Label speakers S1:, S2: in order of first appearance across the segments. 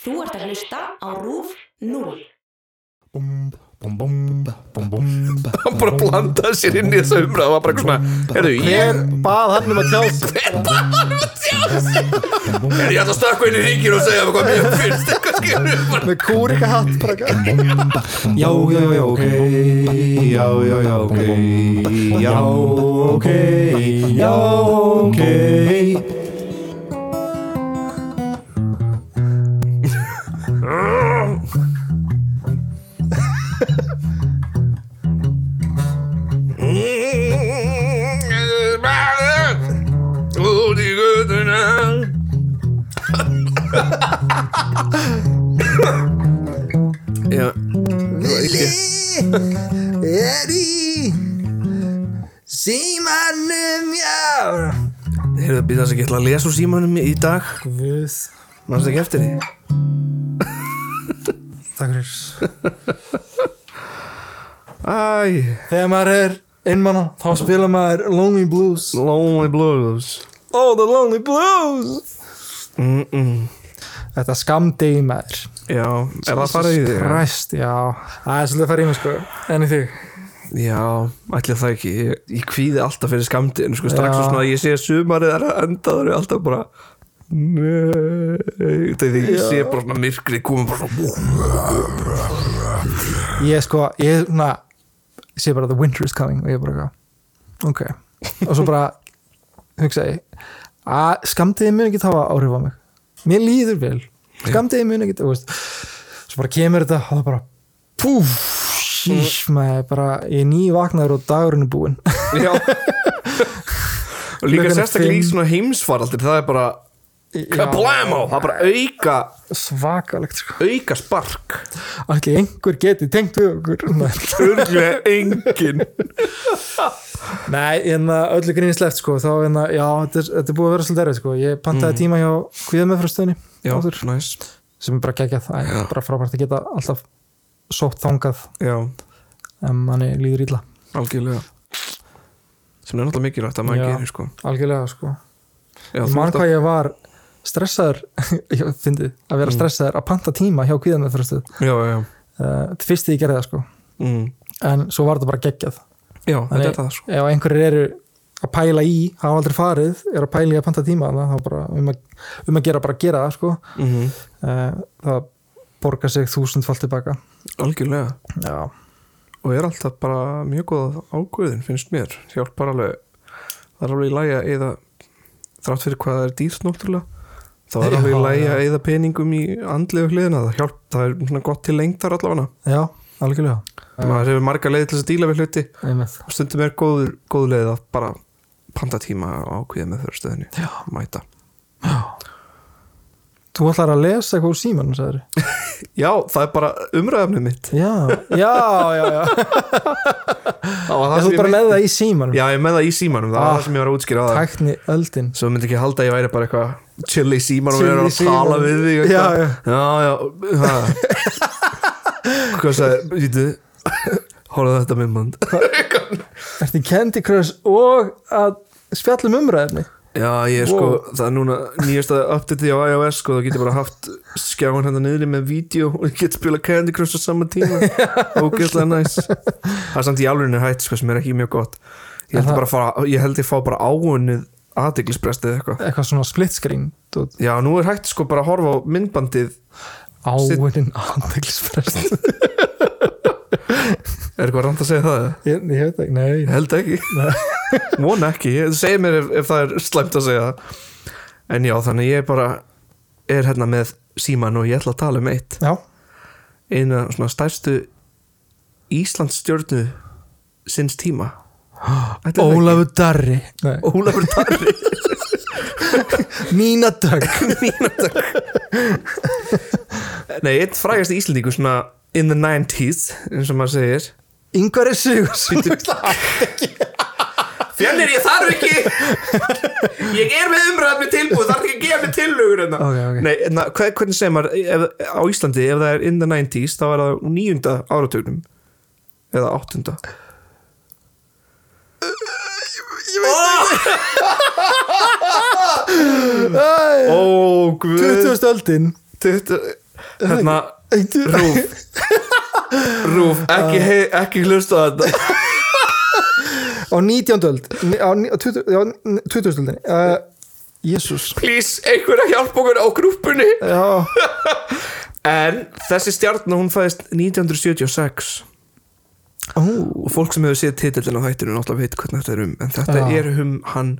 S1: Þú ert að hlusta á RÚF 0.
S2: Hann
S3: hann bara blandaði sér inn í þessa umræða það var bara eitthvað svona, heyrðu, ég,
S2: Hver bað hann um að tjá sig? Hver bað hann um að
S3: er ég ætla að stakka inn í ríkir og segja mér hvað mér finnst eitthvað skilur bara,
S2: Með kúrika hatt bara Já, já, já, ok um Já, já, já, ok Já, ok Já, ok
S3: út í göduna já
S2: Er í Símanum, já
S3: heyrðu, býta þess að ég ætla að lesa úr símanum í dag
S4: Guð,
S3: mannst ekki eftir því
S4: takk fyrir
S3: æ,
S4: Þegar maður er innmanna þá spila maður Lonely Blues
S3: lonely blues
S4: Oh, the Lonely Blues
S3: mm -mm.
S4: Þetta er skamdegi maður
S3: já, er það farið í því
S4: Christ, já Það er svolítið að fara í mig sko En í þig
S3: Já, allir það ekki Ég, ég kvíði alltaf fyrir skamdinn sko, strax
S4: Já.
S3: og svona að ég sé að sumarið er að enda það er ég alltaf bara Nei Þegar ég sé bara svona myrkrið komið bara svona
S4: Ég sko, ég svona Sé bara the winter is coming Og ég bara eitthvað Ok Og svo bara hugsa ég að skamdegi mun ekki hafa áhrif á mig Mér líður vel Skamdegi mun ekki þú veist. Svo bara kemur þetta og það bara Púf Sýs, maður bara, ég er nývaknaður og dagurinn er búinn
S3: Já Og líka
S4: Klukkan er
S3: sérstaklega í
S4: fimm.
S3: svona heimsfaraldir Það er bara kablamo Það er bara auka,
S4: svakalegt sko.
S3: auka spark
S4: Ætli einhver geti tengt við okkur Nei,
S3: Örglega engin
S4: Nei en öllu grínislegt sko þá en já, þetta er, þetta er búið að vera svolítið erfið sko ég pantaði tíma hjá kvíðamöðfrastöðinni
S3: Mm. Já,
S4: áður,
S3: næs
S4: sem er bara geggjað það er bara frábært að geta alltaf sótt þangað
S3: Já,
S4: en manni líður illa
S3: algjörlega Sem er náttúrulega mikilvægt að maður
S4: Já.
S3: gerir sko
S4: algjörlega sko
S3: Já,
S4: ég
S3: þú
S4: man
S3: ert að- Mm.
S4: hvað ég var stressaður ég fyndi að vera stressaður að panta tíma hjá kvíðamöðfrastöð uh,
S3: Já, já, já
S4: þetta fyrst því ég gerði það sko
S3: mm.
S4: en svo var þetta bara geggjað
S3: Já, þetta
S4: Þannig,
S3: er það sko
S4: ef einhverjir eru að pæla í hafa aldrei farið, eru að pæla í að panta tíma þannig að það er bara um að, um að gera bara að gera það sko.
S3: mm
S4: Eh, það borgar sig þúsundfall tilbaka
S3: Algjörlega
S4: já,
S3: og er alltaf bara mjög góð ágöðin finnst mér, hjálpar alveg það er alveg í lagi að eða þrátt fyrir hvað það er dýrt náttúrulega þá er
S4: Já,
S3: alveg í lagi
S4: já.
S3: að eða peningum í andlegu hliðina, það hjálp, það er svona gott til lengdar allavega,
S4: já algjörlega
S3: maður hefur marga leiði til þess að díla við hluti
S4: Einmitt.
S3: og stundum er góð, góð leið að bara panta tíma ákveða með fyrirstöðinni já. mæta.
S4: þú ætlar að lesa eitthvað úr síman sagður.
S3: Já, það er bara umræðafnið mitt
S4: já, já, já, já.
S3: það var
S4: Ég,
S3: það
S4: þú
S3: sem
S4: bara
S3: ég
S4: með
S3: meinti.
S4: það í síman
S3: Já, ég er með það í símanum, það var
S4: Ah,
S3: það sem ég var að útskýra á það
S4: tækni öldin
S3: Svo myndi ekki halda að ég væri bara eitthvað chill í síman og
S4: Chill
S3: við erum
S4: í
S3: að tala
S4: símanum.
S3: við þig
S4: Já,
S3: eitthvað. já, já ha. Hvað sagði, býtu Hóraðu þetta minn mann
S4: ertu í Candy Crush og að um spjallum umræðinni
S3: Já, ég er sko,
S4: Wow.
S3: það er núna nýjasta updatei á iOS sko, þá get ég bara haft skjáin hérna niðri með vídeo og ég get spila Candy Crush á sama tíma Ógeðslega næs Það er samt í alveginu hætt sko, sem er ekki mjög gott Ég held ég bara að fara, ég held ég fá bara áunnið aðdeglisbrestið eitthvað
S4: eitthvað svona split screen dót.
S3: Já, nú er hægt sko bara að horfa á myndbandið
S4: áinnin andeglisfrest
S3: Er eitthvað rand að segja það?
S4: ég, ég veit ekki, nei
S3: Ég held ekki Vona ekki, segi mér ef, ef það er slæmt að segja það. En já, þannig ég bara er hérna með síman og ég ætla að tala um eitt
S4: já,
S3: eina svona stærstu Íslands stjórnu sinns tíma Ætli það ekki?
S4: Ólafur Darri Nei.
S3: Ólafur Darri
S4: Nína Dögg
S3: Nei, einn frægast íslendingu svona in the 90s, eins og maður segir
S4: Ingvar er Sigursson
S3: Fjannir, ég þarf ekki Ég er með umræðum tilbúð Þarf ekki að gefa mig tilhugur hérna
S4: Ok, ok.
S3: Nei, na, hvernig segir maður ef, Á Íslandi, ef það er in the 90s Þá er það á níunda áratugnum Eða áttunda Ó, guð
S4: 20. öldin
S3: 20 hérna Rúf Rúf, ekki, hei, ekki hlusta á þetta
S4: á 19. öld ni- á ni- á 20. já, 20. öldinni uh, Jésús
S3: Please, einhver að hjálpa okkur á grúppunni
S4: já,
S3: En þessi stjarnar hún fæðist 1976
S4: ó,
S3: og fólk sem hefur séð titillin á hættinu náttúrulega veit hvernig þetta er um en þetta
S4: Já.
S3: er um hann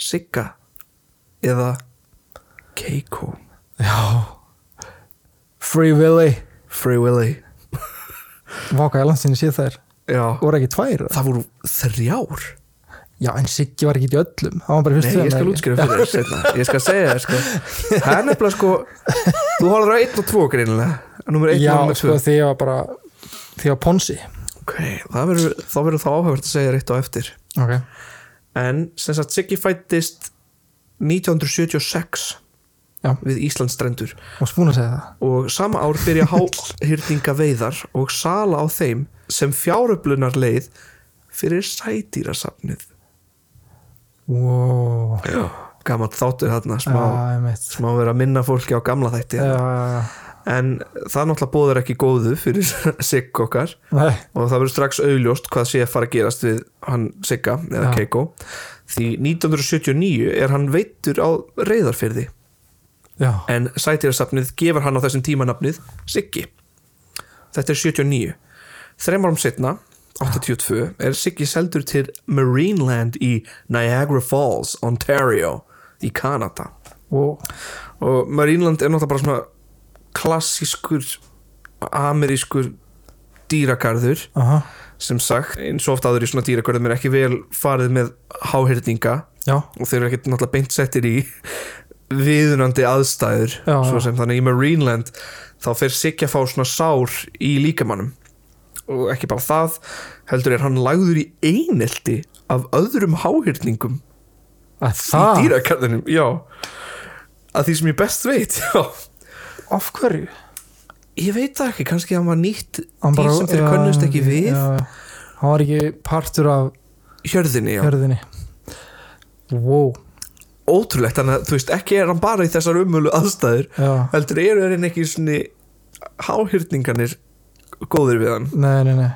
S3: Sigga eða Keiko
S4: Free Willy
S3: Free Willy
S4: Váka, ég langt sinni séð þær
S3: Já,
S4: voru ekki tvær, eða?
S3: það voru þrjár
S4: já en Siggi var ekki í öllum það var bara í fyrstu
S3: Nei, ég skal
S4: eða ekki?
S3: útskrifa fyrir þér seinna. Ég skal segja þér sko Það er nefnilega sko Þú horfður á 1 og 2 greinilega Númer 1
S4: já,
S3: og númer 2
S4: sko því ég var bara því ég var Ponsi
S3: Ok, það verður þá, verður þá áhæfvert að segja rétt á eftir
S4: ok,
S3: En sem sagt Siggi fættist 1976
S4: Já.
S3: Við Íslandstrendur
S4: og spúna að segja það
S3: og sama ár byrja háhyrninga veiðar og sala á þeim sem fjáröflunar leið fyrir sædýrasafnið
S4: wow,
S3: gaman þáttur þarna smá,
S4: já, ég mitt
S3: smá vera að minna fólki á gamla þætti
S4: já,
S3: en það náttúrulega bóður ekki góðu fyrir Sigg okkar
S4: nei,
S3: og það verður strax augljóst hvað sé að fara að gerast við hann Sigga eða
S4: Já.
S3: Keiko því 1979 er hann veittur á reyðarfyrði
S4: já,
S3: en sætýrasafnið gefur hann á þessum tímanafnið Siggi þetta er 79 þreim árum setna 82 er Siggi seldur til Marineland í Niagara Falls, Ontario í Kanada
S4: wow
S3: og Marineland er náttúrulega bara svona klassískur amerískur dýragarður
S4: aha,
S3: sem sagt, eins og oft aður í svona dýragarðum er ekki vel farið með háhyrninga
S4: já,
S3: og þeir eru ekkert náttúrulega beint settir í viðunandi aðstæður
S4: Já,
S3: svo
S4: já.
S3: sem þannig í Marineland þá fer Siggi að fá svona sár í líkamannum og ekki bara það heldur er hann lagður í einelti af öðrum háhyrningum
S4: að
S3: í
S4: það
S3: dýrakarðinum, já að því sem ég best veit, já
S4: af hverju
S3: ég veit það ekki, kannski hann var nýtt
S4: Hann bara-
S3: dýr sem þeir
S4: já,
S3: könnust ekki við
S4: já, já. hann var ekki partur af
S3: hjörðinni, já,
S4: hörðinni wow,
S3: ótrúlegt þannig að þú veist, ekki er hann bara í þessar umölu aðstæður
S4: já
S3: heldur eru þeir ekki svona háhyrninganir góðir við hann
S4: Nei, nei, nei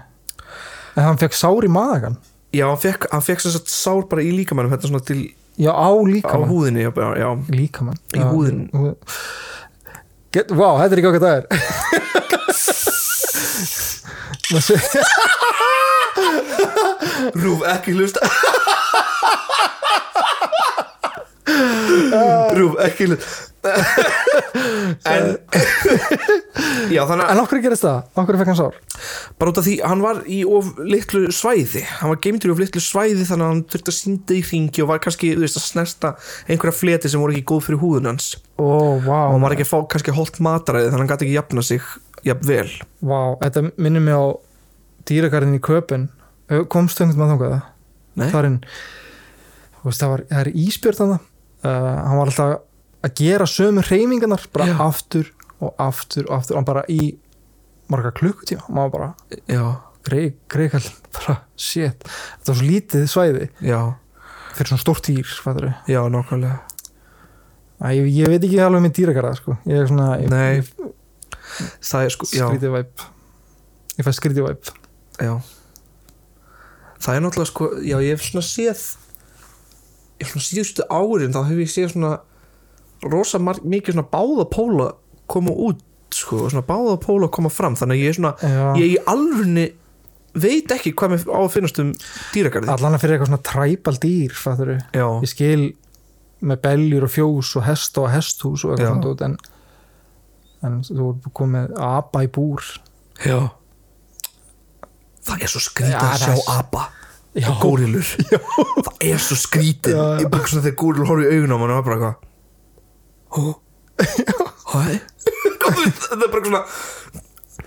S4: En hann fekk sár í maðagan
S3: já, hann fekk, hann fekk sem sagt sár bara í líkamannum þetta svona til
S4: Já, á
S3: á
S4: líkamann
S3: húðinni já, bara, já,
S4: Líkamann
S3: Í
S4: Já,
S3: húðin.
S4: hú- Get, Vá, þetta er ekki okkar dagar Maður sé-
S3: rúf ekki hlusta rúf ekki hlusta en já, þannig að
S4: En okkur gerist það, okkur fekk hann sár
S3: bara út af því, hann var í of litlu svæði hann var geimtur í of litlu svæði þannig að hann þurfti að sýnda í hringi og var kannski, þú veist, að snerta einhverja fleti sem voru ekki góð fyrir húðun hans
S4: Ó,
S3: og
S4: vá,
S3: hann var ekki að fá kannski holt mataræði þannig að hann gæti ekki jafna sig jafn vel
S4: vá Þetta minnir mig á dýragarðin í köpun Komst þöngt maður þangað
S3: Nei.
S4: Þarinn Þú veist, það, var, það er íspjörð hann uh, Hann var alltaf að gera sömu hreyfingarnar Bara
S3: Já.
S4: aftur og aftur og aftur Hann bara í marga klukkutíma Hann var bara
S3: já,
S4: greið, greiðkall bara shit, þetta var svo lítið svæði
S3: já,
S4: fyrir svona stórt dýr fattarðu.
S3: já, nákvæmlega
S4: Æ, ég, ég veit ekki alveg með dýragarða sko. ég er svona ég,
S3: Nei,
S4: ég,
S3: það er sko, já,
S4: skrítið væp ég fæ skrítið væp
S3: já það er náttúrulega sko já, ég hef svona séð ég hef svona síðustu árin þá hef ég séð svona rosa mar- mikið svona báða póla koma út sko, og svona báða póla koma fram þannig að ég er svona,
S4: Já.
S3: ég í alvörni veit ekki hvað mér á að finnast um dýragarði
S4: allan að fyrir eitthvað svona træpal dýr fattarðu.
S3: já,
S4: ég skil með beljur og fjós og hest og hesthús og
S3: Já.
S4: eitthvað svona dót, en, en þú er komið apa í búr
S3: já það er svo skrítið
S4: Já,
S3: að
S4: það er
S3: sjá
S4: svo-
S3: apa
S4: já,
S3: górillur það er svo skrítið
S4: Já.
S3: ég bara svona þegar górillur horfði í augun á mann og var bara eitthvað hó hæ þetta er bara eitthvað svona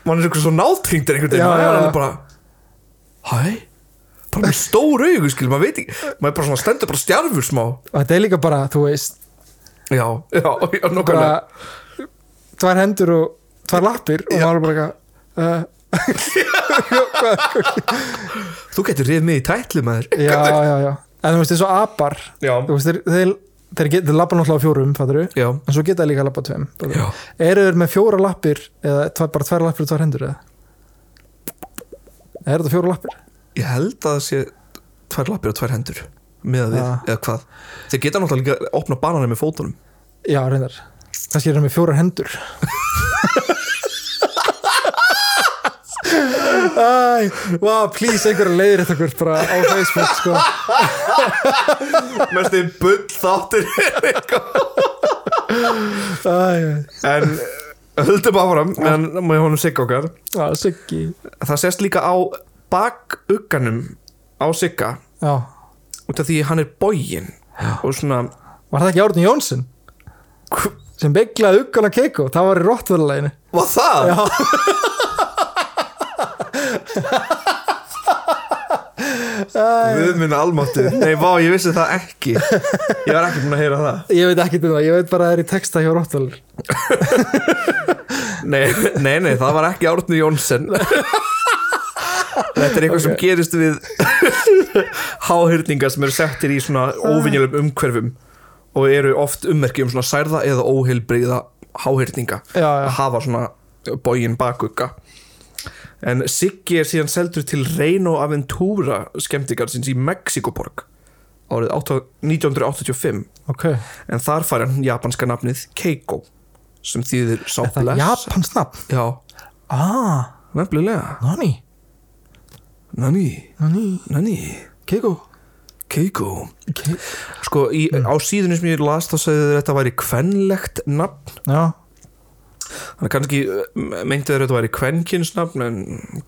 S3: mann er eitthvað svo nátengdur einhvern veginn
S4: Já,
S3: maður
S4: já,
S3: er
S4: já.
S3: alveg bara hæ bara með stór augu skil maður veit ekki maður er bara svona stendur bara stjarfur smá
S4: og þetta er líka bara, þú veist
S3: já já já nokkvæmlega
S4: bara tvær hendur og tvær lappir og maður er bara eitthvað uh,
S3: þú getur reyð mig í tætli maður
S4: já, já, já en þú veist, eins og apar
S3: Já.
S4: þú veist, þeir, þeir þeir, get, þeir labba náttúrulega á fjórum fattur
S3: já,
S4: en svo geta þeir líka að labba á tveim
S3: já
S4: eru þeir með fjóra lappir eða tvær, bara tvær lappir og tvær hendur eða er þetta fjóra lappir
S3: Ég held að það sé tvær lappir og tvær hendur með við,
S4: Já.
S3: eða hvað Þeir geta náttúrulega líka að opna bananum með fótunum
S4: já reyndar kannski er þeir með fjóra hendur Æ, wow, please, einhverja leiðir þetta okkur bara á Facebook sko.
S3: Mest þeir bull þáttir
S4: Æ,
S3: En eh, höldum áfram meðan með honum sigga okkar
S4: á, Siggi
S3: Það sést líka á bakugganum á sigga
S4: Já,
S3: út af því hann er bógin og svona
S4: var það ekki Árni Jónsson sem beiglaði uggana keiko það var í rottverðaleginu
S3: Var það? Já Við minna almáttu Nei, vá, ég vissi það ekki Ég var ekki búin að heyra það
S4: ég veit ekki um það, ég veit bara að það er í texta hjá rottverðaleginu
S3: Nei, nei, nei, það var ekki Árni Jónsson Þetta er eitthvað sem gerist við háhyrningar sem eru settir í svona óvinjulegum umhverfum og eru oft ummerki um svona særða eða óheilbriða háhyrninga
S4: Já, já.
S3: að hafa svona bógin bakugga en Siggi er síðan seldur til Reino Aventura skemmtigarsins í Mexikoborg árið 8- 1985
S4: ok,
S3: en þar fær hann japanska nafnið Keiko sem þýðir
S4: er það er
S3: sábless
S4: Japans nafn
S3: Já,
S4: ah,
S3: nefnilega
S4: nani,
S3: Nani,
S4: nani,
S3: nani
S4: keiko
S3: Keiko
S4: Ke
S3: Sko, í, á síðunni sem ég las þá segðu þeir að þetta væri kvenlegt nafn
S4: já,
S3: Þannig kannski uh, meintu þeir að þetta væri kvenkinsnafn en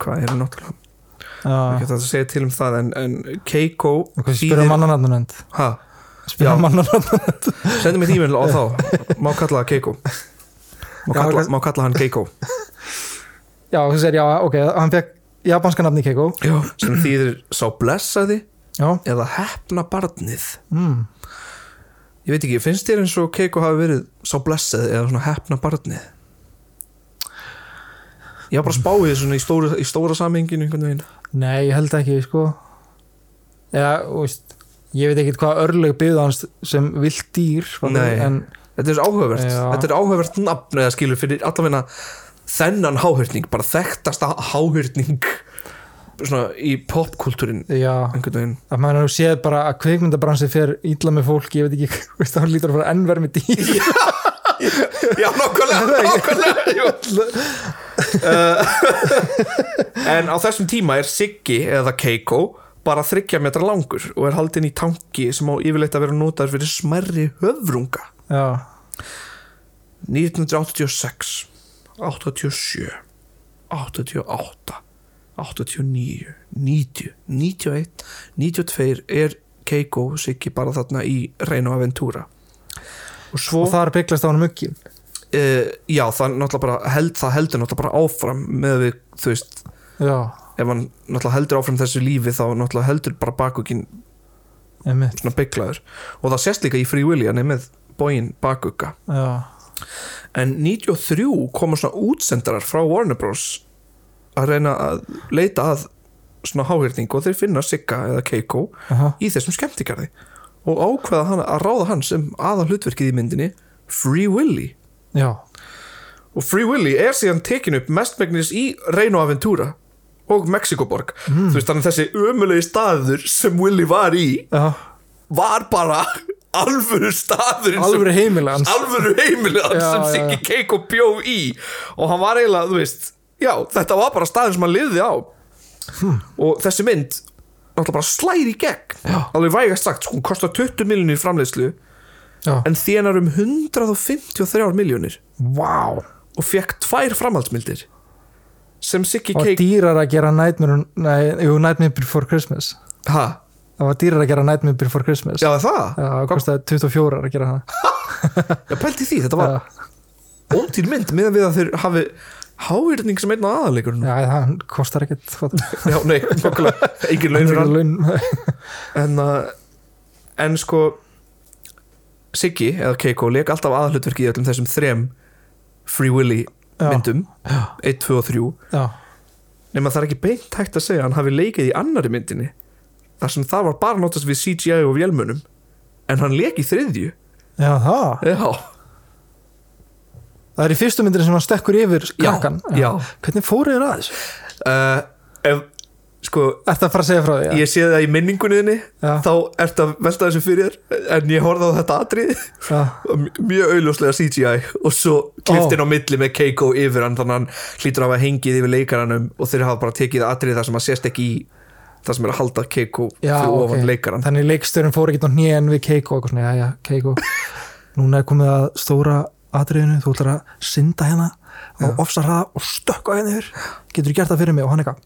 S3: hvað er það náttúrulega
S4: já
S3: ekki hægt að segja til um það en, en Keiko
S4: ok, spyrja mannanatnum end
S3: ha,
S4: spyrja
S3: Já.
S4: mannanatnum
S3: Sendu mér tímil á þá Má kalla það Keiko Má
S4: Já,
S3: kalla,
S4: kannski-
S3: má kalla hann Keiko
S4: já, þú segir, já, ok, hann fekk japanska nafni keiko
S3: Já. sem þýðir sá blessaði
S4: já,
S3: eða hefna barnið
S4: mm.
S3: Ég veit ekki, finnst þér eins og Keiko hafi verið sá blessað eða svona hefna barnið? Ég var bara að spá í þessu svona í stóra, í stóra samhenginu einhvern veginn.
S4: nei, ég held ekki, sko já, þú veist ég veit ekkit hvað örlög byggðu hans sem vilt dýr fattar
S3: Nei.
S4: við, en
S3: Þetta er svo áhugavert.
S4: Já.
S3: Þetta er áhugavert nafn eða skilur fyrir allavegna þennan háhyrning, bara þekktasta háhyrning svona í popkultúrin
S4: já,
S3: einhvern veginn.
S4: að maður hefur séð bara að kveikmyndabransi fer ítla með fólk, ég veit ekki veist, það lítur að fara ennverð með dýr
S3: Já, nokkulega, nokkulega, jú. Eh, En á þessum tíma er Siggi eða Keiko bara þryggja metra langur og er haldinn í tanki sem á yfirleitt að vera notaður fyrir smerri höfrunga
S4: já,
S3: 1986 87 88 89 90 91 92 er Keiko Siggi bara þarna í Reino Aventura og svo
S4: og þar bygglast á hann muggi
S3: uh, já það náttúrulega bara held, það heldur náttúrulega bara áfram með við þú veist
S4: já,
S3: ef hann náttúrulega heldur áfram þessu lífi þá náttúrulega heldur bara bakugin
S4: einmitt
S3: svona bygglaður og það sést líka í Free Willy hann er með bógin bakugga
S4: já,
S3: en 93 koma svona útsendarar frá Warner Bros að reyna að leita að svona háhyrning og þeir finna Sigga eða Keiko
S4: aha,
S3: í þessum skemmtikarði og ákveða hann að ráða hann sem aða hlutverkið í myndinni Free Willy
S4: já
S3: og Free Willy er síðan tekin upp mestmegnis í Reino Aventura og Mexikoborg
S4: Mm.
S3: þú veist þannig að þessi ömulegi staður sem Willy var í
S4: já,
S3: var bara alvöru staðurinn
S4: alvöru
S3: sem,
S4: heimilans
S3: alvöru heimilið hans
S4: Já,
S3: sem
S4: já.
S3: Siggi Keiko bjó í og hann var eiginlega, þú veist já, þetta var bara staðurinn sem hann liði á
S4: Hmm.
S3: og þessi mynd náttúrulega bara slæri í gegn já. alveg vægast sagt, sko, hún kostar 20 miljonir framleiðslu
S4: já,
S3: en þénar um 153 miljonir
S4: wow
S3: og fekk tvær framhaldsmyndir sem Siggi
S4: og
S3: Keiko
S4: dýrar að gera Nightmare, nei, jú, Nightmare Before Christmas
S3: ha,
S4: það var dýrar að gera Nightmare Before Christmas
S3: já það er það,
S4: Já, það kostaði 24 að gera það
S3: já pælti því þetta var
S4: Já.
S3: ódýr mynd meðan við að þeir hafi háýrning sem einn af aðalegur
S4: Já, það kostar ekkert hvað það
S3: Já, nei, nokkulega, engin laun
S4: er
S3: fyrir
S4: ekki
S3: hann
S4: laun
S3: en, uh, en sko Siggi eða Keiko leik alltaf aðhlutverki í öllum þessum þrem Free Willy
S4: Já.
S3: myndum 1, 2 og 3
S4: Já,
S3: nema það er ekki beint hægt að segja að hann hafi leikið í annari myndinni þar sem það var bara notast við CGI og vélmunum en hann leik í þriðju
S4: Já, það.
S3: Já,
S4: Það er í fyrstu myndir sem hann stekkur yfir
S3: Já,
S4: krakkan.
S3: já.
S4: Hvernig fóruður að þessu?
S3: uh, ef, sko,
S4: Ertu að fara að segja frá því? já?
S3: ég sé það í minningunniðinni
S4: Já.
S3: þá ertu að velta þessu fyrir þér, en ég horfði á þetta atrið
S4: Já.
S3: mjög auðljóslega CGI og svo kliftin á milli með Keiko yfir hann þannig að hann hlýtur að hafa hengið yfir leikaranum og þeir hafa bara tekið atrið þar sem að sést ekki í þar sem er að halda Keiko
S4: Já,
S3: fyrir ofan
S4: ok.
S3: leikaran
S4: Þannig leikstjörn fór ekkert á hnén við Keiko og eitthvað svona, já, já, Keiko núna er komið að stóra atriðinu þú ætlar að synda hérna á ofsa hraða og stökka hérna yfir getur þú gert það fyrir mig og hann eitthvað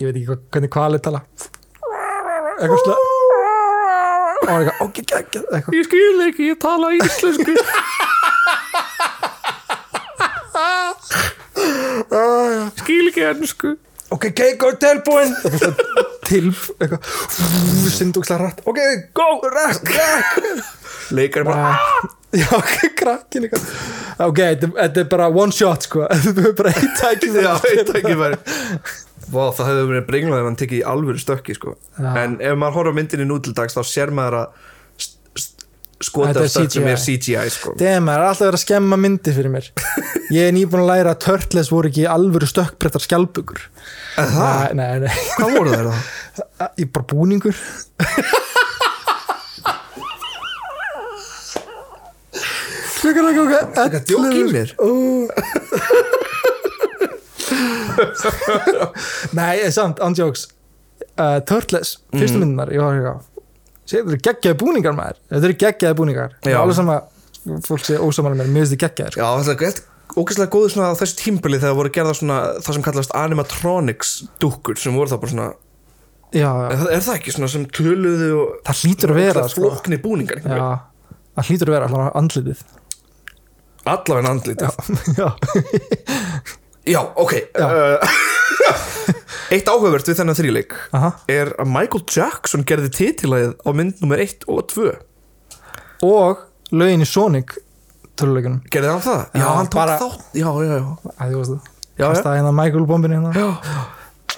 S4: ég veit ekki hvað, hvernig kvalið tala eitthvað slö og hann eitthvað, ok, ok, ok eitthvað.
S3: Ég skil ekki, ég tala íslensku Skil ekki ennsku
S4: ok, Keiko, tilbúin eitthvað slö, tilb, eitthvað syndu og hratt, ok, go, rætt, rætt
S3: Leikar bara
S4: Já, ok, krakkin eitthvað Ok, þetta þetta er bara one shot sko Þetta er bara eitt tækið
S3: Já, veit ekki bara Vá, það hefði verið brenglað ef hann tekið í alvöru stökki sko.
S4: Já.
S3: En ef maður horfður á myndinni nú til dags þá sér maður að st- st- skota
S4: Þetta er
S3: stökk sem
S4: CGI.
S3: er CGI sko.
S4: Damn, það er alltaf verið að skemma myndi fyrir mér Ég er nýbúin að læra að Turtles voru ekki alvöru stökkbrettar skjálpugur Það? Nei, nei,
S3: Hvað voru það það?
S4: ég er bara búningur Klukkan að ganga Það
S3: að djóka í mér?
S4: Nei, eh, samt, andjóks uh, Turtles, fyrstu
S3: Mm.
S4: myndunar Ég var ekki á Sér, þetta eru geggjaði búningar maður Þetta eru geggjaði búningar Það
S3: Já.
S4: er alveg sama Fólk sé ósamal mér, mér finnst þið geggjaðir sko.
S3: Já, það er gett ógæslega góður svona á þessu tímbili þegar voru gerða svona það sem kallast animatronics dúkkur sem voru það bara svona
S4: Já, já,
S3: er, er það ekki svona sem töluðu og
S4: það hlýtur að vera
S3: Ógeðslega
S4: sko.
S3: flóknir búningar einhvern
S4: Já,
S3: veginn.
S4: það hlýtur að vera allavega andlitið
S3: allavega en andlítið
S4: Já,
S3: Já, ok
S4: Já.
S3: Uh, Eitt áhugavert við þennan þrýleik
S4: aha
S3: er að Michael Jackson gerði titilæðið á mynd nummer 1 og 2
S4: Og lögin í Sonic töluleikunum
S3: Gerði hann það?
S4: Já,
S3: Já, hann tók
S4: bara-
S3: þátt Já, já, já,
S4: Æ, þú veist það
S3: já, já.
S4: Kastaði hérna Michael bombinu hérna
S3: já.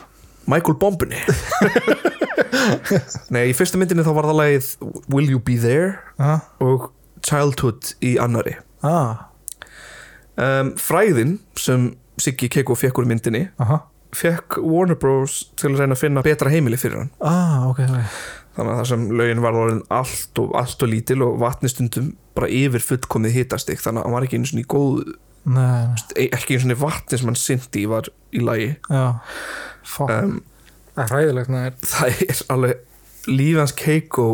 S3: Michael Bombunni Nei, í fyrsta myndinni þá var það lagið Will You Be There
S4: Já,
S3: og Childhood í annari
S4: ah,
S3: um, Fræðin sem Siggi Keiko fekk úr myndinni
S4: aha
S3: fekk Warner Bros. til að reyna að finna betra heimili fyrir hann
S4: Ah, ok, ok
S3: þannig að það sem lögin var orðin allt og, allt og lítil og vatnistundum bara yfir fullkomið hitastig þannig að hann var ekki einu svona í góð e,
S4: Nei, nei,
S3: ekki einu svona vatni sem hann syndi í var í lagi
S4: já Fuck,
S3: um,
S4: það er hræðilegt nær
S3: það er alveg lífans keiko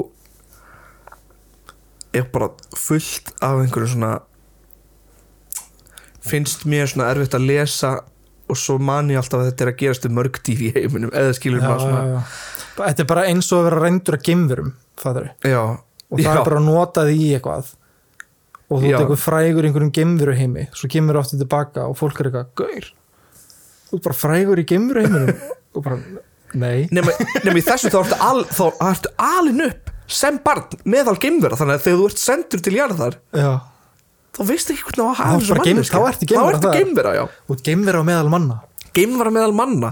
S3: er bara fullt af einhverju svona finnst mér svona erfitt að lesa og svo man ég alltaf að þetta er að gerast um mörg dýr í heiminum eða skilur maður svona
S4: já. Þetta er bara eins og að vera reyndur að geimverum fattar við,
S3: já,
S4: og það
S3: já,
S4: er bara að nota því í eitthvað og þú
S3: Já.
S4: tekur frægur í einhverjum geimveru heimi svo kemur þú aftur tilbaka og fólk er eitthvað gaur, þú er bara frægur í geimveru heiminum og bara, nei
S3: nema, nema í þessu þá ertu, al, þá ertu alin upp sem barn meðal geimvera þannig að þegar þú ert sendur til jarðar
S4: já,
S3: þá veistu ekki hvernig á að
S4: Þá
S3: hafa
S4: ertu
S3: þessu
S4: bara geimvera,
S3: manneskja.
S4: þá ertu geimvera,
S3: þá ertu
S4: það er-
S3: geimvera já.
S4: og geimveru á meðal manna
S3: geimvera meðal manna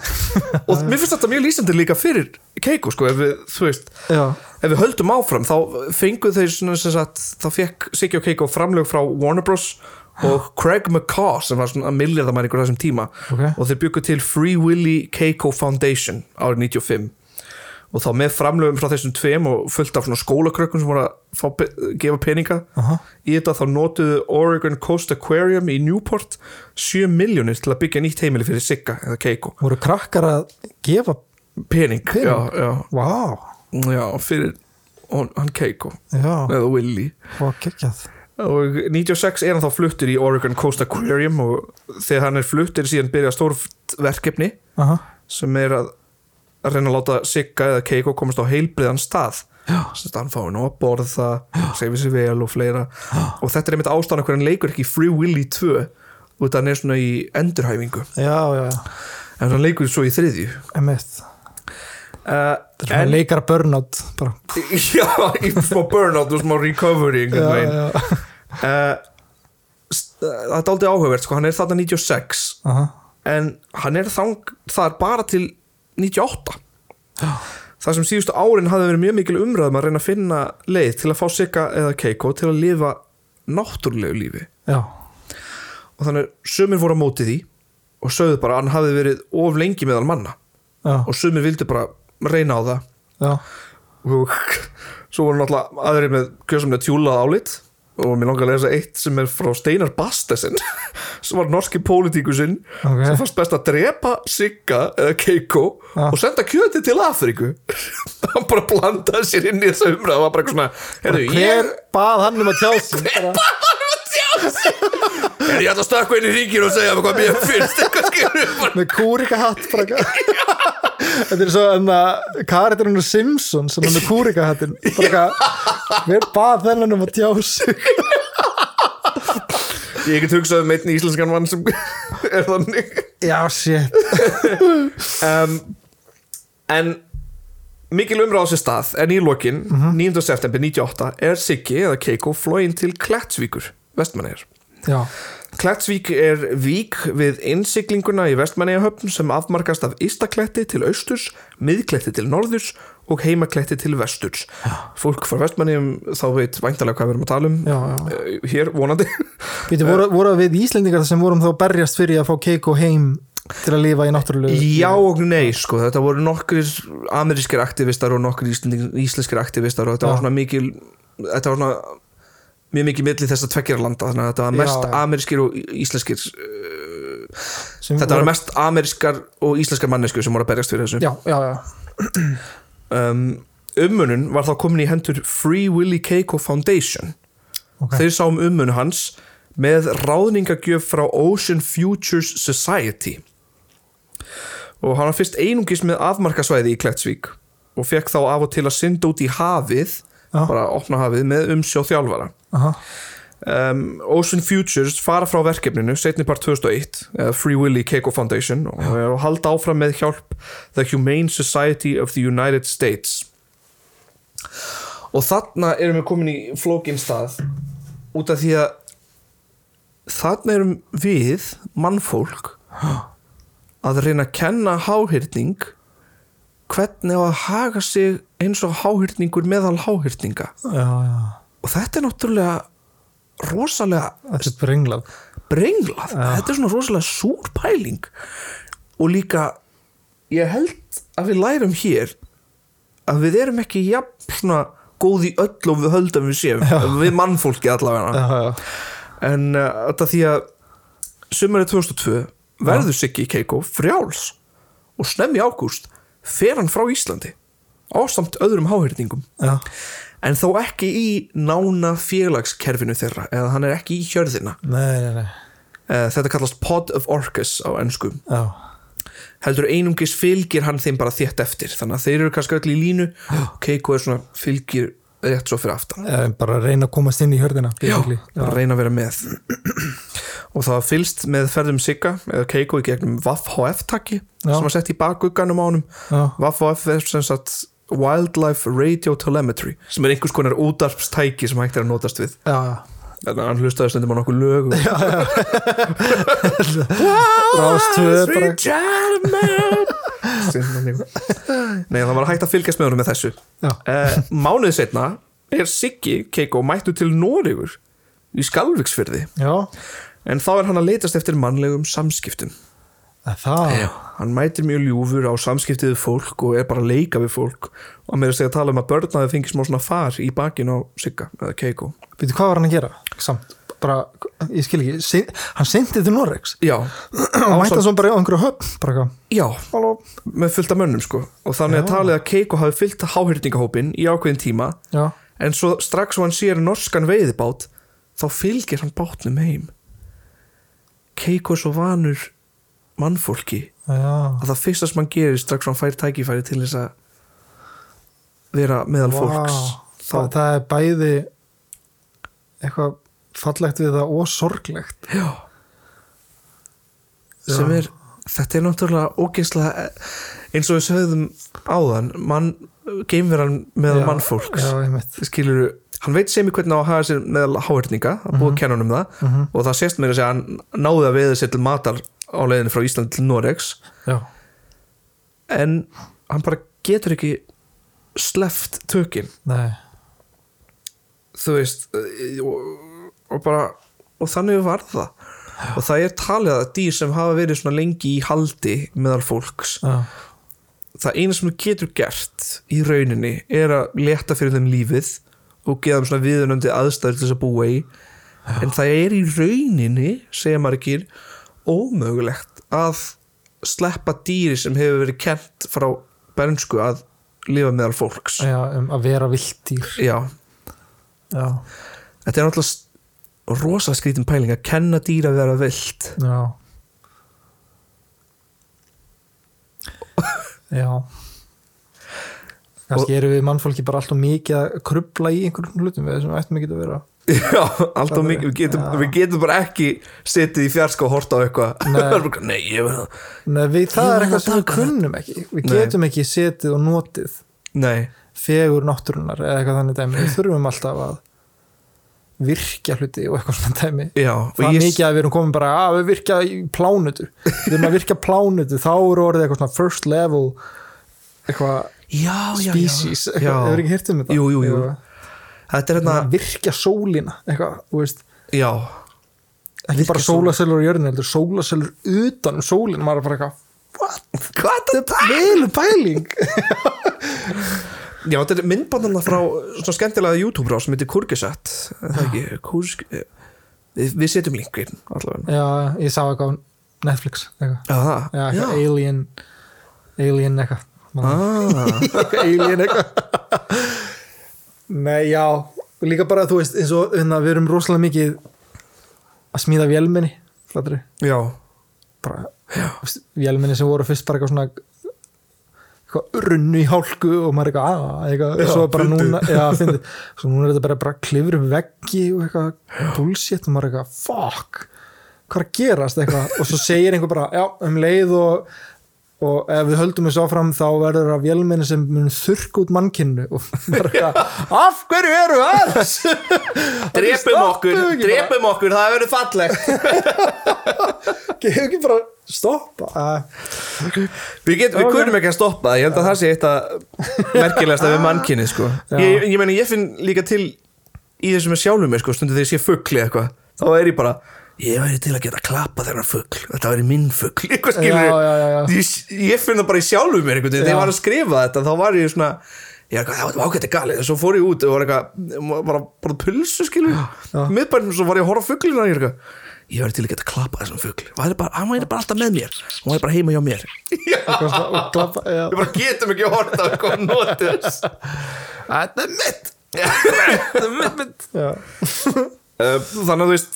S3: og mér finnst þetta mjög lýsandi líka fyrir Keiko sko, ef við, þú veist
S4: já,
S3: ef við höldum áfram þá fengu þeir svona sem sagt, þá fekk Siggi og Keiko framlög frá Warner Bros og Craig McCaw sem var svona að milljarðamæringur á þessum tíma
S4: Ok.
S3: og þeir byggu til Free Willy Keiko Foundation árið 95 og þá með framlögum frá þessum tveim og fullt af svona skólakrökkum sem voru að fá, pe- gefa peninga
S4: Aha.
S3: í þetta þá notuðu Oregon Coast Aquarium í Newport 7 miljónir til að byggja nýtt heimili fyrir Sigga eða Keiko
S4: voru krakkar að gefa
S3: pening,
S4: Pening?
S3: Já, já,
S4: vá,
S3: já, fyrir hon- hann Keiko
S4: já,
S3: eða Willy
S4: vá, geggjað
S3: og 96 er hann þá fluttur í Oregon Coast Aquarium og þegar hann er fluttur síðan byrja stórt verkefni
S4: aha,
S3: sem er að, að reyna að láta Sigga eða Keiko komast á heilbriðan stað sem hann fái nú að borða segfi sér vel og fleira og þetta er einmitt ástæðan hvernig hann leikur ekki í Free Willy 2 út að hann er svona í endurhæfingu
S4: já, já,
S3: en hann leikur svo í þriðju
S4: emitt
S3: uh,
S4: Það er leikara burnout bara.
S3: já, í smá burnout og smá recovery einhvern veginn
S4: já.
S3: uh, það er aldrei áhugavert sko, hann er þarna 96
S4: Aha.
S3: en hann er þang, það er bara til 98 það sem síðustu árin hafði verið mjög mikil umræðum að reyna að finna leið til að fá Sigga eða Keiko til að lifa náttúrulegu lífi
S4: já,
S3: og þannig sumir voru á móti því og sögðu bara að hann hafði verið of lengi meðal manna
S4: já,
S3: og sumir vildu bara reyna á það
S4: já,
S3: og svo voru náttúrulega aðrir með kjössamlega tjúlað álit og mér langar að lesa eitt sem er frá Steinar Bastesen sem var norski pólitíkusinn
S4: Ok.
S3: sem fannst best að drepa Sigga eða Keiko
S4: Ah.
S3: og senda kjöti til Afríku hann bara blandaði sér inn í þessa umræð og var bara eitthvað svona, heyrðu, ég
S2: Hver bað hann um að tjá sig?
S3: er ég ætla að stökkva inn í ríkir og segja hvað mér finnst eitthvað skilur bara,
S2: Með kúrika hatt bara
S4: þetta er svo en að karakterinu Simpson sem er með kúrikahattin bara eitthvað, hver bað þennan um að tjá sig
S3: ég get hugsað um einn íslenskan mann sem er þannig
S4: já, shit,
S3: um, En mikil umræða á sér stað En í lokin, 9. september 98 Er Siggi eða Keiko flóin til Klettsvíkur, vestmannir
S4: já,
S3: Klettsvík er vík við innsiglinguna í vestmanniðahöfn sem afmarkast af Ístakletti til austurs, miðkletti til norðurs og heimakletti til vesturs. Fólk frá vestmanniðum þá veit væntalega hvað við erum að tala um
S4: já, já
S3: Eh, hér vonandi.
S4: Býtu, voru, voru við Íslendingar sem vorum þá að berjast fyrir að fá Keiko heim til að lifa í náttúrulegu
S3: Já og nei sko, þetta voru nokkur amerískir aktivistar og nokkur íslending- íslenskir aktivistar og þetta var
S4: Já.
S3: svona mikil þetta var svona mjög mikið milli þess að tveggjara landa þannig að þetta var mest
S4: Já, Mm, já.
S3: amerískir og í- íslenskir
S4: sem
S3: þetta var mest amerískar og íslenskar mannesku sem voru að berjast fyrir þessu
S4: já, já, já,
S3: um, ummunun var þá komin í hendur Free Willy Keiko Foundation
S4: Ok.
S3: þeir sáum ummunun hans með ráðningagjöf frá Ocean Futures Society og hann var fyrst einungis með afmarkasvæði í Klettsvík og fekk þá af og til að synda út í hafið
S4: Já.
S3: bara opna hafið með umsjóð þjálfara
S4: aha,
S3: um, Ocean Futures fara frá verkefninu setni part 2001 uh, Free Willy Keiko Foundation og, og halda áfram með hjálp The Humane Society of the United States og þarna erum við komin í flókin stað út af því að þarna erum við mannfólk að reyna að kenna háhyrning hvernig á að haga sig eins og háhyrningur meðal háhyrninga
S4: já, já
S3: og þetta er náttúrulega rosalega
S4: þetta er sprenglað
S3: brenglað
S4: Ah.
S3: þetta er svona rosalega súr pæling og líka ég held að við lærum hér að við erum ekki jafn svona góð í öll og við höldum við séum við mannfólki allavega
S4: já, já,
S3: en uh, þetta því að sumarið 2002 verður Siggi Keiko frjáls og snemmi í ágúst fer hann frá Íslandi ásamt öðrum háhyrningum
S4: já,
S3: en þó ekki í nána félagskerfinu þeirra eða hann er ekki í hjörðina
S4: nei, nei, nei
S3: Eh, þetta kallast Pod of Orcus á ennsku
S4: já,
S3: heldur einungis fylgir hann þeim bara þétt eftir þannig að þeir eru kannski öll í línu Keiko er svona fylgir rétt svo fyrir aftan
S4: Eh, bara að reyna að komast inn í hörðina basically.
S3: bara reyna að vera með og það var fylst með ferðum Sigga eða Keiko í gegnum VAF-HF takki
S4: Já.
S3: sem var sett í bakugganum á honum
S4: Já.
S3: VAF-HF er sem sagt Wildlife Radio Telemetry sem er einhvers konar útarpstæki sem hægt er að notast við
S4: já, já,
S3: þannig að hann hlustaði stundum á nokkuð lög og
S4: rástöð bara,
S3: Ah, Sweet gentleman. Sinna mig. Nei, það var hægt að fylgjast með honum með þessu
S4: Já.
S3: uh, Mánuð setna er Siggi Keiko mættu til Noregur í Skalviksfyrði
S4: já,
S3: en þá er hann að leitast eftir mannlegum samskiptum
S4: Eh, það já,
S3: Hann mætir mjög ljúfur á samskiptið við fólk og er bara að leika við fólk og mér er að segja að tala um að börnaði fengi smá svona far í bakinn á Sigga eða Keiko
S4: veitu hvað var hann að gera samt, bara, ég skil ekki sin, hann sendið til Norex
S3: Já,
S4: hann mætti svo bara á einhverju höfn bara eitthvað,
S3: já,
S4: halló,
S3: með fullta mönnum sko og þannig að
S4: Já.
S3: talið að Keiko hafi fyllt háhyrningahópin í ákveðin tíma
S4: já,
S3: en svo strax og hann sér norskan veiðibát þá fylgir hann bátnum heim Keiko er svo vanur mannfólki
S4: já
S3: að það fyrsta sem hann gerir strax og hann fær tækifæri til þess að vera meðal fólks þá,
S4: það, það er bæði eitthvað fallegt við það og sorglegt
S3: já, sem er þetta er náttúrulega ógeðslega eins og við sögðum áðan mann, geimveran meðal
S4: Já,
S3: mannfólks
S4: já, einmitt.
S3: skilur hann veit sem í hvernig á að hafa sér meðal háhörninga að búið að kenna hann um það og það sést mér að segja að hann náði að veiða sér til matar á leiðinu frá Ísland til Noregs
S4: já,
S3: en hann bara getur ekki sleft tökin
S4: Nei,
S3: þú veist eh, og, og bara og þannig var það og það er talið að dýr sem hafa verið svona lengi í haldi meðal fólks
S4: já,
S3: það eina sem þú getur gert í rauninni er að leta fyrir þeim lífið og geða þeim svona viðunandi aðstæður til þess að búa í en það er í rauninni segja maður ekki ómögulegt að sleppa dýri sem hefur verið kent frá bernsku að lifa meðal fólks
S4: já um, að vera viltýr
S3: já,
S4: já,
S3: þetta er náttúrulega s- rosa skrítin pæling að kenna dýra að vera vilt
S4: já já kannski erum við mannfólki bara alltaf mikið að krubla í einhverjum hlutum við sem við ættum ekki að vera
S3: já, allt og mikið, við getum, við getum bara ekki setið í fjarska og horta á eitthvað
S4: Nei.
S3: Það er bara, nei, ég verð að
S4: Nei, við,
S1: Ég
S4: það er
S1: verð
S4: eitthvað
S1: að
S4: sem við
S1: taka
S4: kunnum ekki við
S3: Nei.
S4: getum ekki setið og notið
S3: nei,
S4: fegur náttúrunar eða eitthvað þannig dæmi við þurfum alltaf að virkja hluti og eitthvað svona dæmi
S3: já og
S4: það er
S3: ég-
S4: mikið að við erum komin bara að við virkja í plánutu við erum að virkja plánutu þá eru orðið eitthvað svona first level eitthvað
S3: já, já,
S4: species
S3: já, já.
S4: eitthvað, hefur ekki hirt um þetta
S3: Jú, jú, jú. þetta er hérna,
S4: Að virkja sólina eitthvað, þú veist,
S3: já
S4: ekki bara sólaselur á jörðinu heldur sólaselur utan um sólina maður er bara eitthvað,
S3: hvað er það?
S4: vel pæling
S3: já, þetta er myndbandana frá svona skemmtilega YouTube-rá sem heitir Kurgisat það er ekki, Kursk við, við setjum linkin allavega
S4: já, ég sá eitthvað á Netflix
S3: já,
S4: eitthvað,
S3: það,
S4: já, eitthvað alien alien eitthvað Man-
S3: Ah,
S4: eitthvað alien eitthvað Nei, já líka bara, þú veist, eins og hérna, við erum rosalega mikið að smíða vélminni flatri,
S3: já,
S4: bara þú veist, vélminni sem voru fyrst bara eitthvað svona eitthvað runnu í hálku og maður eitthvað, að, eitthvað,
S3: Já,
S4: svo bara
S3: fyndið.
S4: núna já, fyndið, svo núna er þetta bara, bara klifur upp veggi og eitthvað bullshit og maður eitthvað, fuck hvað er að gerast eitthvað, og svo segir einhver bara, já, um leið og og ef við höldum þessu áfram þá verður það vélminni sem mun þurrk út mannkinnu og maður eitthvað, af hverju eru að þessu
S3: drepum
S4: Stoppum
S3: okkur
S4: ekki bara.
S3: drepum okkur, það hefur verið fallegt
S4: hefur ekki bara stoppa uh,
S3: Við, get, við
S4: Ok.
S3: kunum ekki að stoppa það, ég held að það sé eitt að merkilegast að við mannkinni sko.
S4: Já.
S3: ég, ég meina, ég finn líka til í þessum með sjálfum mig, sko, stundu þegar ég sé fuggli eitthvað, þá er ég bara ég væri til að geta klappa þennan fuggl þetta væri minn fuggl, eitthvað skilur
S4: Já, já, já, já.
S3: Ég, ég finn það bara í sjálfum mér einhvern veginn, þegar
S4: Já.
S3: ég var að skrifa þetta þá var ég svona, ég var eitthvað, það var ágætti galið og svo fór ég út og var eitthvað bara, bara pulsu skilur, miðbænum svo var ég að horfa á fugglina og ég er eitthvað ég væri til að geta klappa þessum fuggli, hann væri bara alltaf með mér hann væri bara heima hjá mér
S4: eitthvað svona, og klappa, já.
S3: Við bara getum ekki að horta að koma notið þess Þetta er mitt Þetta er mitt, mitt.
S4: Já.
S3: Uh, Þannig að þú veist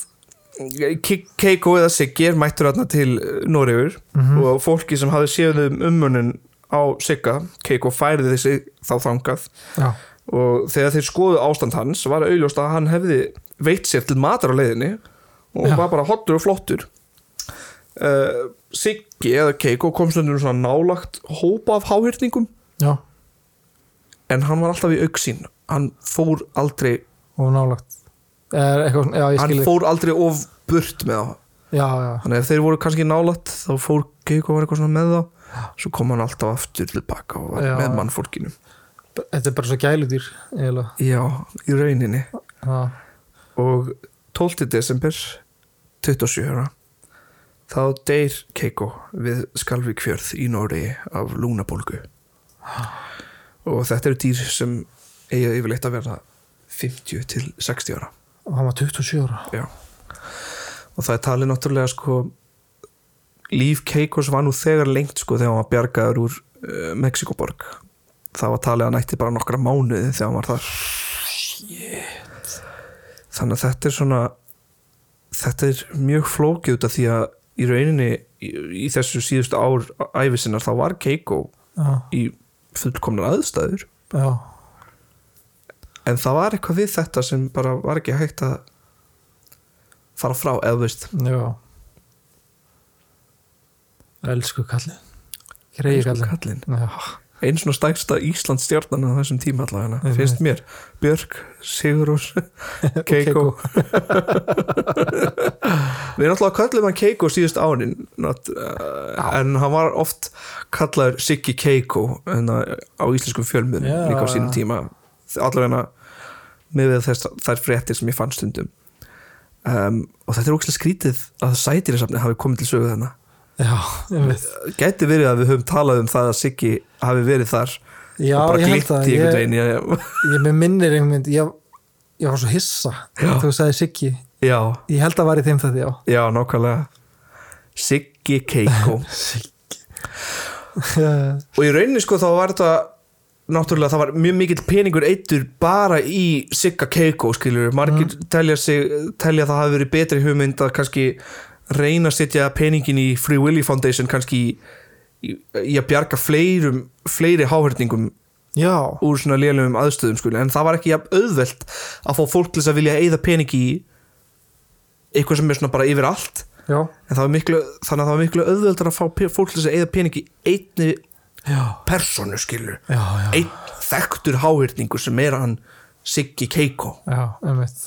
S3: Ke- Keiko eða Siggi er mættur þarna til Noregur og fólki sem hafi séð um ummunin á Sigga Keiko færði þessi þá þangað
S4: Já.
S3: og þegar þeir skoðu ástand hans var auðljóst að hann hefði veitt sér til matar á leiðinni og
S4: Já.
S3: var bara hottur og flottur uh, Siggi eða Keiko kom stundum svona nálagt hópa af háhyrningum
S4: já,
S3: en hann var alltaf í auksín hann fór aldrei
S4: og nálagt er eitthvað, svona- já, ég
S3: hann
S4: skilji
S3: fór aldrei of burt með þá
S4: já, já,
S3: þannig að ef þeir voru kannski nálat þá fór Keiko var eitthvað svona með þá svo kom hann alltaf aftur til baka og var
S4: Já.
S3: með mannfólkinu
S4: þetta er bara svo gæludýr eiginlega
S3: já, í rauninni
S4: já,
S3: og 12. desember 27. ára, þá deyr Keiko við Skalvíkfjörð í Nóri af lúnabólgu og þetta eru dýr sem eiga yfirleitt að vera 50 til 60 ára
S4: og hann var 27 ára
S3: Já. Og það er talið náttúrulega sko líf Keikos var nú þegar lengt sko þegar hann var bjargaður úr uh, Mexikoborg. Það var talið að hann ætti bara nokkra mánuði þegar hann var þar. Shit. Þannig að þetta er svona þetta er mjög flókið út af því að í rauninni í, í þessu síðustu ár æfisinnar þá var Keiko
S4: já,
S3: í fullkomnar aðstæður
S4: já,
S3: en það var eitthvað við þetta sem bara var ekki hægt að fara frá eða þú veist
S4: já elsku kallin greiði
S3: Elsku
S4: kallin
S3: sko kallinn.
S4: já,
S3: einn svona stæksta Íslands stjórnan á þessum tíma allavega,
S4: Einmitt.
S3: finnst mér Björk, Sigurús, Keiko Við náttúrulega kallum hann Keiko síðust árin not, uh, en hann var oft kallaður Siggi Keiko en að- á íslenskum fjölmiðum
S4: Já.
S3: líka á sínum tíma allavega með þess, þær fréttir sem ég fann stundum um, og þetta er ógæslega skrítið að sætirasafni hafi komið til sögu þarna
S4: já, ég veit
S3: Gæti verið að við höfum talað um það að Siggi hafi verið þar
S4: já,
S3: og bara
S4: ég held
S3: glitt
S4: það
S3: í einhvern
S4: ég,
S3: veginn ég...
S4: ég með minnir einhvern veginn ég, ég var svo hissa
S3: Já.
S4: þegar þú sagði Siggi
S3: Já,
S4: ég held að var í þeim þetta, já
S3: já, nákvæmlega Siggi Keiko
S4: Já,
S3: og í rauninni sko þá var þetta náttúrulega það var mjög mikill peningur eittur bara í Sigga Keiko skilur, margir
S4: Mhm.
S3: telja, sig, telja það hafi verið betri hugmynd að kannski reyna að setja peningin í Free Willy Foundation kannski í, í, í að bjarga fleirum, fleiri háhörningum
S4: já,
S3: úr svona lélum aðstöðum skilur, en það var ekki jafn auðvelt að fá fólk til þess að vilja eigða peningi í eitthvað sem er svona bara yfir allt
S4: já,
S3: en það var miklu, þannig að það var miklu auðveldar að fá pe- fólk til þess að eigða peningi einni
S4: já,
S3: personu skilur
S4: já, já.
S3: einn þekktur háhyrningur sem er hann Siggi Keiko
S4: já einmitt.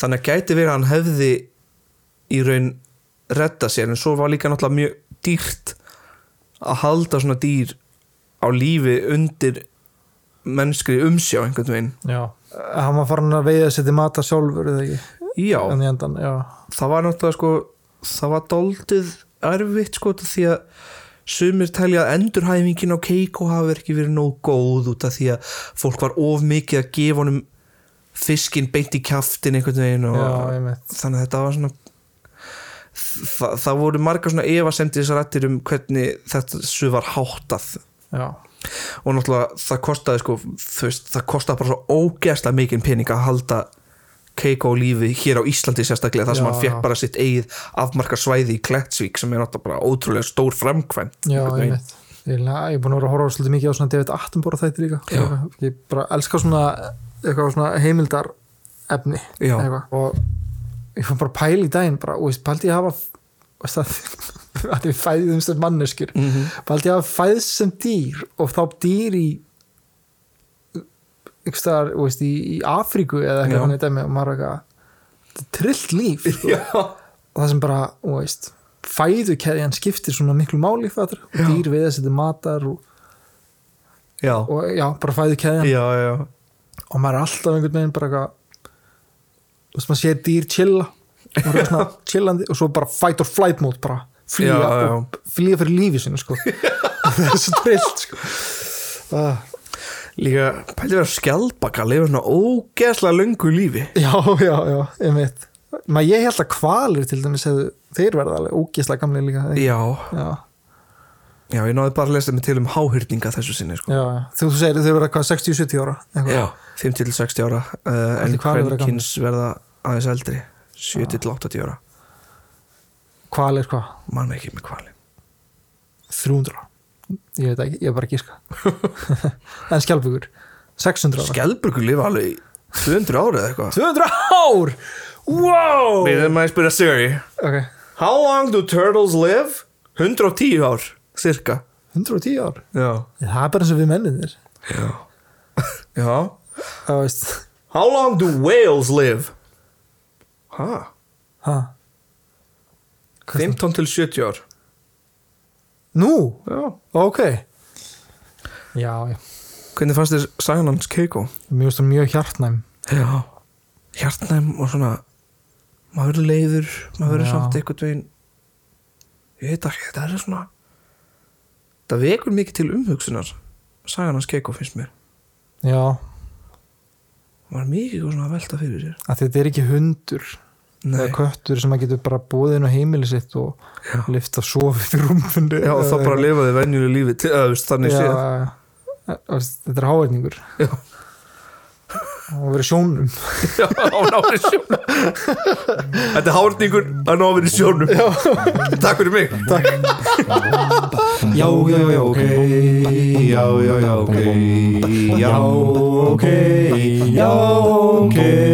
S3: þannig að gæti verið að hann hefði í raun redda sér en svo var líka náttúrulega mjög dýrt að halda svona dýr á lífi undir mennskri umsjá einhvern veginn
S4: já. hann var farin að veiða sér til mata sjálfur eða ekki,
S3: já,
S4: en í endan já,
S3: það var náttúrulega sko það var doldið erfitt sko út af því að sumir telja að endurhæfingin á Keiko hafi ekki verið nóg góð út af því að fólk var of mikið að gefa honum fiskin beint í kjaftin einhvern veginn og
S4: já, einmitt
S3: þannig að þetta var svona það, það voru margar svona efasemdi þessar rættir um hvernig þetta svo var háttað
S4: já,
S3: og náttúrulega það kostaði sko þú veist, það kostaði bara svo ógeðslega mikinn pening að halda Keiko á lífi hér á Íslandi sérstaklega þar sem
S4: Já,
S3: hann fekk
S4: já.
S3: bara sitt eigið afmarka svæði í Klettsvík sem er náttúrulega bara ótrúlega stór framkvæmt
S4: já,
S3: einhvern veginn.
S4: einmitt Ég la- ég er búin að vera að horfa svolítið mikið á svona David Attenborough þætti líka
S3: Já.
S4: ég bara elska svona, eitthvað svona heimildar efni
S3: Já.
S4: eitthvað. og ég fann bara pæl í daginn bara, og veist, pældi ég að hafa veist, að, að við fæðum sem manneskjur mm
S3: Mhm.
S4: -hmm. pældi ég að hafa fæðs sem dýr og þá dýr í einhvers staðar, þú veist, í, í Afríku
S3: Já.
S4: eða eitthvað hann eitthvað og maður er eitthvað þetta er trillt líf sko
S3: Já,
S4: og það sem bara, þú veist fæðukeðjan skiptir svona miklu máli fattur, og dýr við að setja matar og,
S3: já,
S4: og já, bara fæðukeðjan
S3: já, já,
S4: og maður er alltaf einhvern veginn bara eitthvað þú veist, maður sér dýr chilla og maður er svona chillandi og svo bara fight or flight mode bara, flýja
S3: Já, já.
S4: og flýja fyrir lífi sinu sko það er svo trillt sko uh,
S3: líka pæli vera skjaldbaka að lifa svona ógeðslega löngu lífi
S4: já, já, já, einmitt maður ég held að kvalir til dæmis hefðu, þeir verða alveg ógislega gamlega líka eða ekki?
S3: Já,
S4: já,
S3: já, ég náði bara að lesa mig til um háhyrninga þessu sinni sko.
S4: já, já. þú segir þau verða hvað 60-70 ára eitthvað.
S3: Já, 50-60 ára uh, en
S4: Ætli hvalir vera
S3: kvenkins verða aðeins eldri 70-80 ára,
S4: Hval er hvað?
S3: mann ekki með kvalin
S4: 300 ára. Ég veit ekki, ég er bara að gíska En skjálfugur 600 ára
S3: Skelburgu lifa alveg í 200 ára eða eitthvað
S4: 200 ár! Wow!
S3: Við erum að spyrja Siri
S4: Ok,
S3: How long do turtles live? 110 ár, cirka
S4: 110 ár
S3: Já,
S4: Það er bara eins og við menninir
S3: já. já.
S4: Það veist
S3: How long do whales live? Ha,
S4: ha.
S3: 15 til 70 ár
S4: Nú,
S3: Já
S4: ok Já, já
S3: Hvernig fannst þér sagan hans Keiko?
S4: Mjög, veist það mjög hjartnæm
S3: Já, hjartnæm og svona maður verður leiður, maður verður
S4: Já.
S3: samt einhvern veginn ég veit ekki, þetta er svona það vekur mikið til umhugsunar sagan hans Keiko finnst mér
S4: Já,
S3: maður er mikið eitthvað svona að velta fyrir sér
S4: að þetta er ekki hundur Það er
S3: Nei,
S4: köttur sem að getur bara búið inn á heimili sitt og
S3: Já.
S4: lyft að sofa upp í rúmfunni
S3: já, og þá bara lifaði venjulegu lífi til, að, veist, þannig
S4: Já,
S3: séð
S4: já, já. þetta er háverningur
S3: Já.
S4: og verið sjónum
S3: Já, hann á verið sjónum Þetta er hárningur, hann á verið sjónum já. Takk fyrir mig
S2: Já, já, já, ok Já, já, já, ok Já, ok Já, ok